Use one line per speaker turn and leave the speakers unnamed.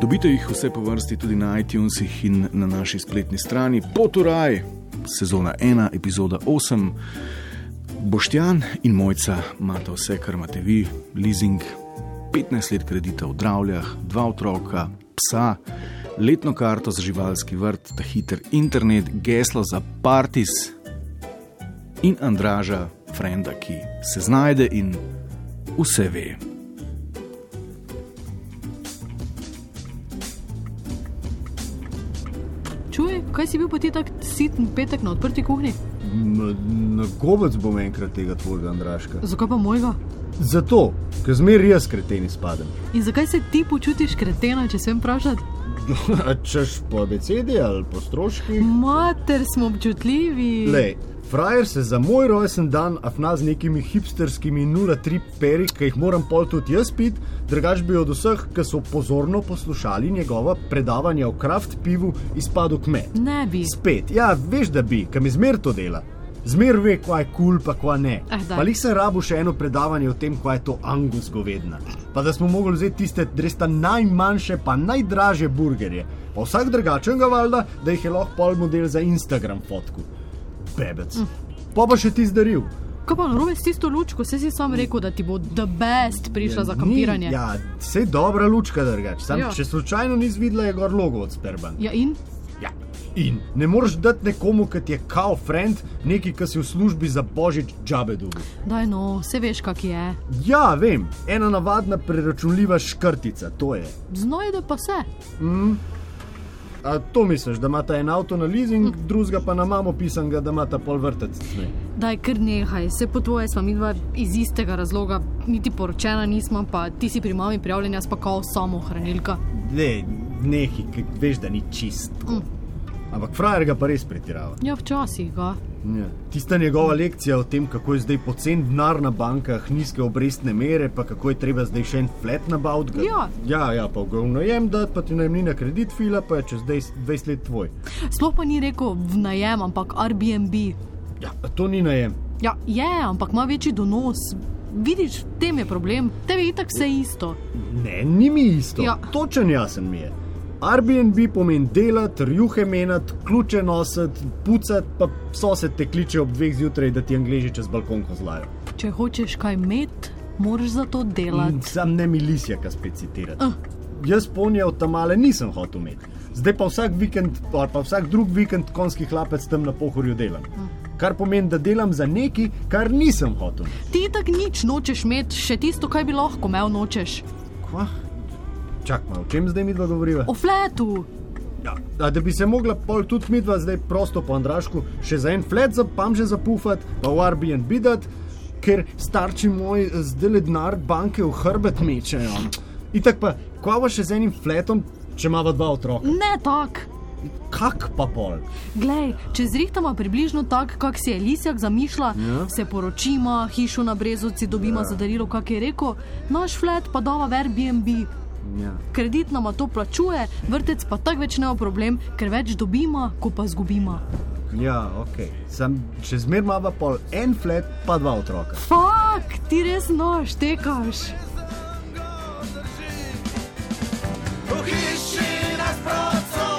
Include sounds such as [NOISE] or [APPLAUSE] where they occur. Dobite jih vse po vrsti tudi na iTunesih in na naši spletni strani Poturaj, sezona 1, epizoda 8. Boštjan in Mojca imata vse, kar imate vi, leasing, 15 let kredita v Dravljah, dva otroka, psa, letno karto za živalski vrt, ta hiter internet, geslo za Partis in Andraža, frenda, ki se znajde in vse ve.
Čuj, kaj si bil pa ti tako siten petek na odprti kuhinji?
Na, na gobec bom enkrat tega tvojega Andraška.
Zakaj pa mojega?
Zato, ker zmeraj jaz kreteni spadam. [LAUGHS]
In zakaj se ti počutiš kretena, če sem vprašati?
A Češ po abecedi ali po stroških.
Mater smo občutljivi.
Lej, frajer se za moj rojsten dan afna z nekimi hipsterskimi 0,3 peri, ki jih moram pol tudi jaz pit, drugač bi od vseh, ki so pozorno poslušali njegova predavanja o kraft pivu, izpadel kmet.
Ne bi.
Spet, ja, veš, da bi, kam izmer to dela. Zmer ve, kva je kul, cool, pa kva ne.
Ah, daj.
pa lih sem rabu še eno predavanje o tem, kva je to angus govedina. Pa da smo mogli vzeti tiste res ta najmanjše, pa najdražje burgerje. Pa vsak drugačen ga valjda, da jih je lahko pol model za Instagram fotku. Bebec.
Hm.
Pa pa še ti zdaril.
Kaj pa narobe s tisto lučko, se si sam rekel, da ti bo the best prišla za kampiranje.
Ni- Ja, vse dobra lučka drugač. Sam,
Ja.
če slučajno nisi videla, je gor logo od Sperbank.
ja in?
Ja. In ne moreš dati nekomu, ki ti je kao friend, nekaj, kar si v službi za božič džabe dubil.
Daj no, se veš, kak je.
Ja, vem, ena navadna preračunljiva škrtica, to je.
Znojde pa se.
A to misliš, da imata en avto na leasing, drugega pa na mamo pisanega, da imata pol vrtec? Ne.
Daj kar nehaj, se po tvoje smo mi dva iz istega razloga, niti poročena nismo, pa ti si pri mami prijavljen, jaz pa kao samo hranilka.
Ne, nehi, ki veš, da ni čist.
Mm.
Ampak frajer ga pa res pretirava.
Ja, včasih ga.
Ja. Tista njegova lekcija o tem, kako je zdaj pocen denar na bankah, nizke obrestne mere, pa kako je treba zdaj še en flat nabaviti. ga-
Ja.
ja, ja, pa ogromno jem, da pa ti najmnina kredit fila, pa je čez 20 20 let tvoj.
Sploh pa ni rekel v najem, ampak Airbnb.
Ja, a to ni najem.
Ja, je, ampak ima večji donos. Vidiš, v tem je problem, tebi je itak vse isto.
Ne, ni mi isto.
Ja.
Točen jasen mi je. Airbnb pomeni delati, rjuhe menati, ključe nositi, pucati, pa sosed te kliče ob dveh zjutraj, da ti angliži čez balkon kozlajo.
Če hočeš kaj imeti, moraš za to
In
delati.
Sam ne mi lisjaka spet citirati.
Ah.
Jaz ponje od tamale nisem hotel imeti. Zdaj pa vsak vikend, ali pa vsak drug vikend, konjski hlapec tam na pohorju delam. Kar pomeni, da delam za nekaj, kar nisem hotel.
Ti itak nič nočeš imeti, še tisto, kaj bi lahko imel, nočeš.
Kva? Čak, malo, o čem zdaj mi dva govoriva?
O fletu.
Ja. A Da bi se mogla pol tudi midva zdaj prosto po Andrašku še za en flat zapamže zapufati, pa v Airbnb dati, ker starši moji zdaj le denar banke v hrbet mečejo. Itak pa, kva pa še z enim fletom, če imava dva otroka?
Ne tak.
Kak pa pol?
Glej, če zrihtamo približno tako, kak si je Lisjak zamišlja,
Ja.
se poročimo, hišo na Brezovci dobimo za darilo, kak je rekel, naš flat pa dava v Airbnb.
Ja.
Kredit nama to plačuje, vrtec pa tako več ne bo problem, ker več dobimo, ko pa izgubimo.
ja, ok. Sam še zmer imava pol en flat, pa dva otroka.
Fak, ti res noš, tekaš.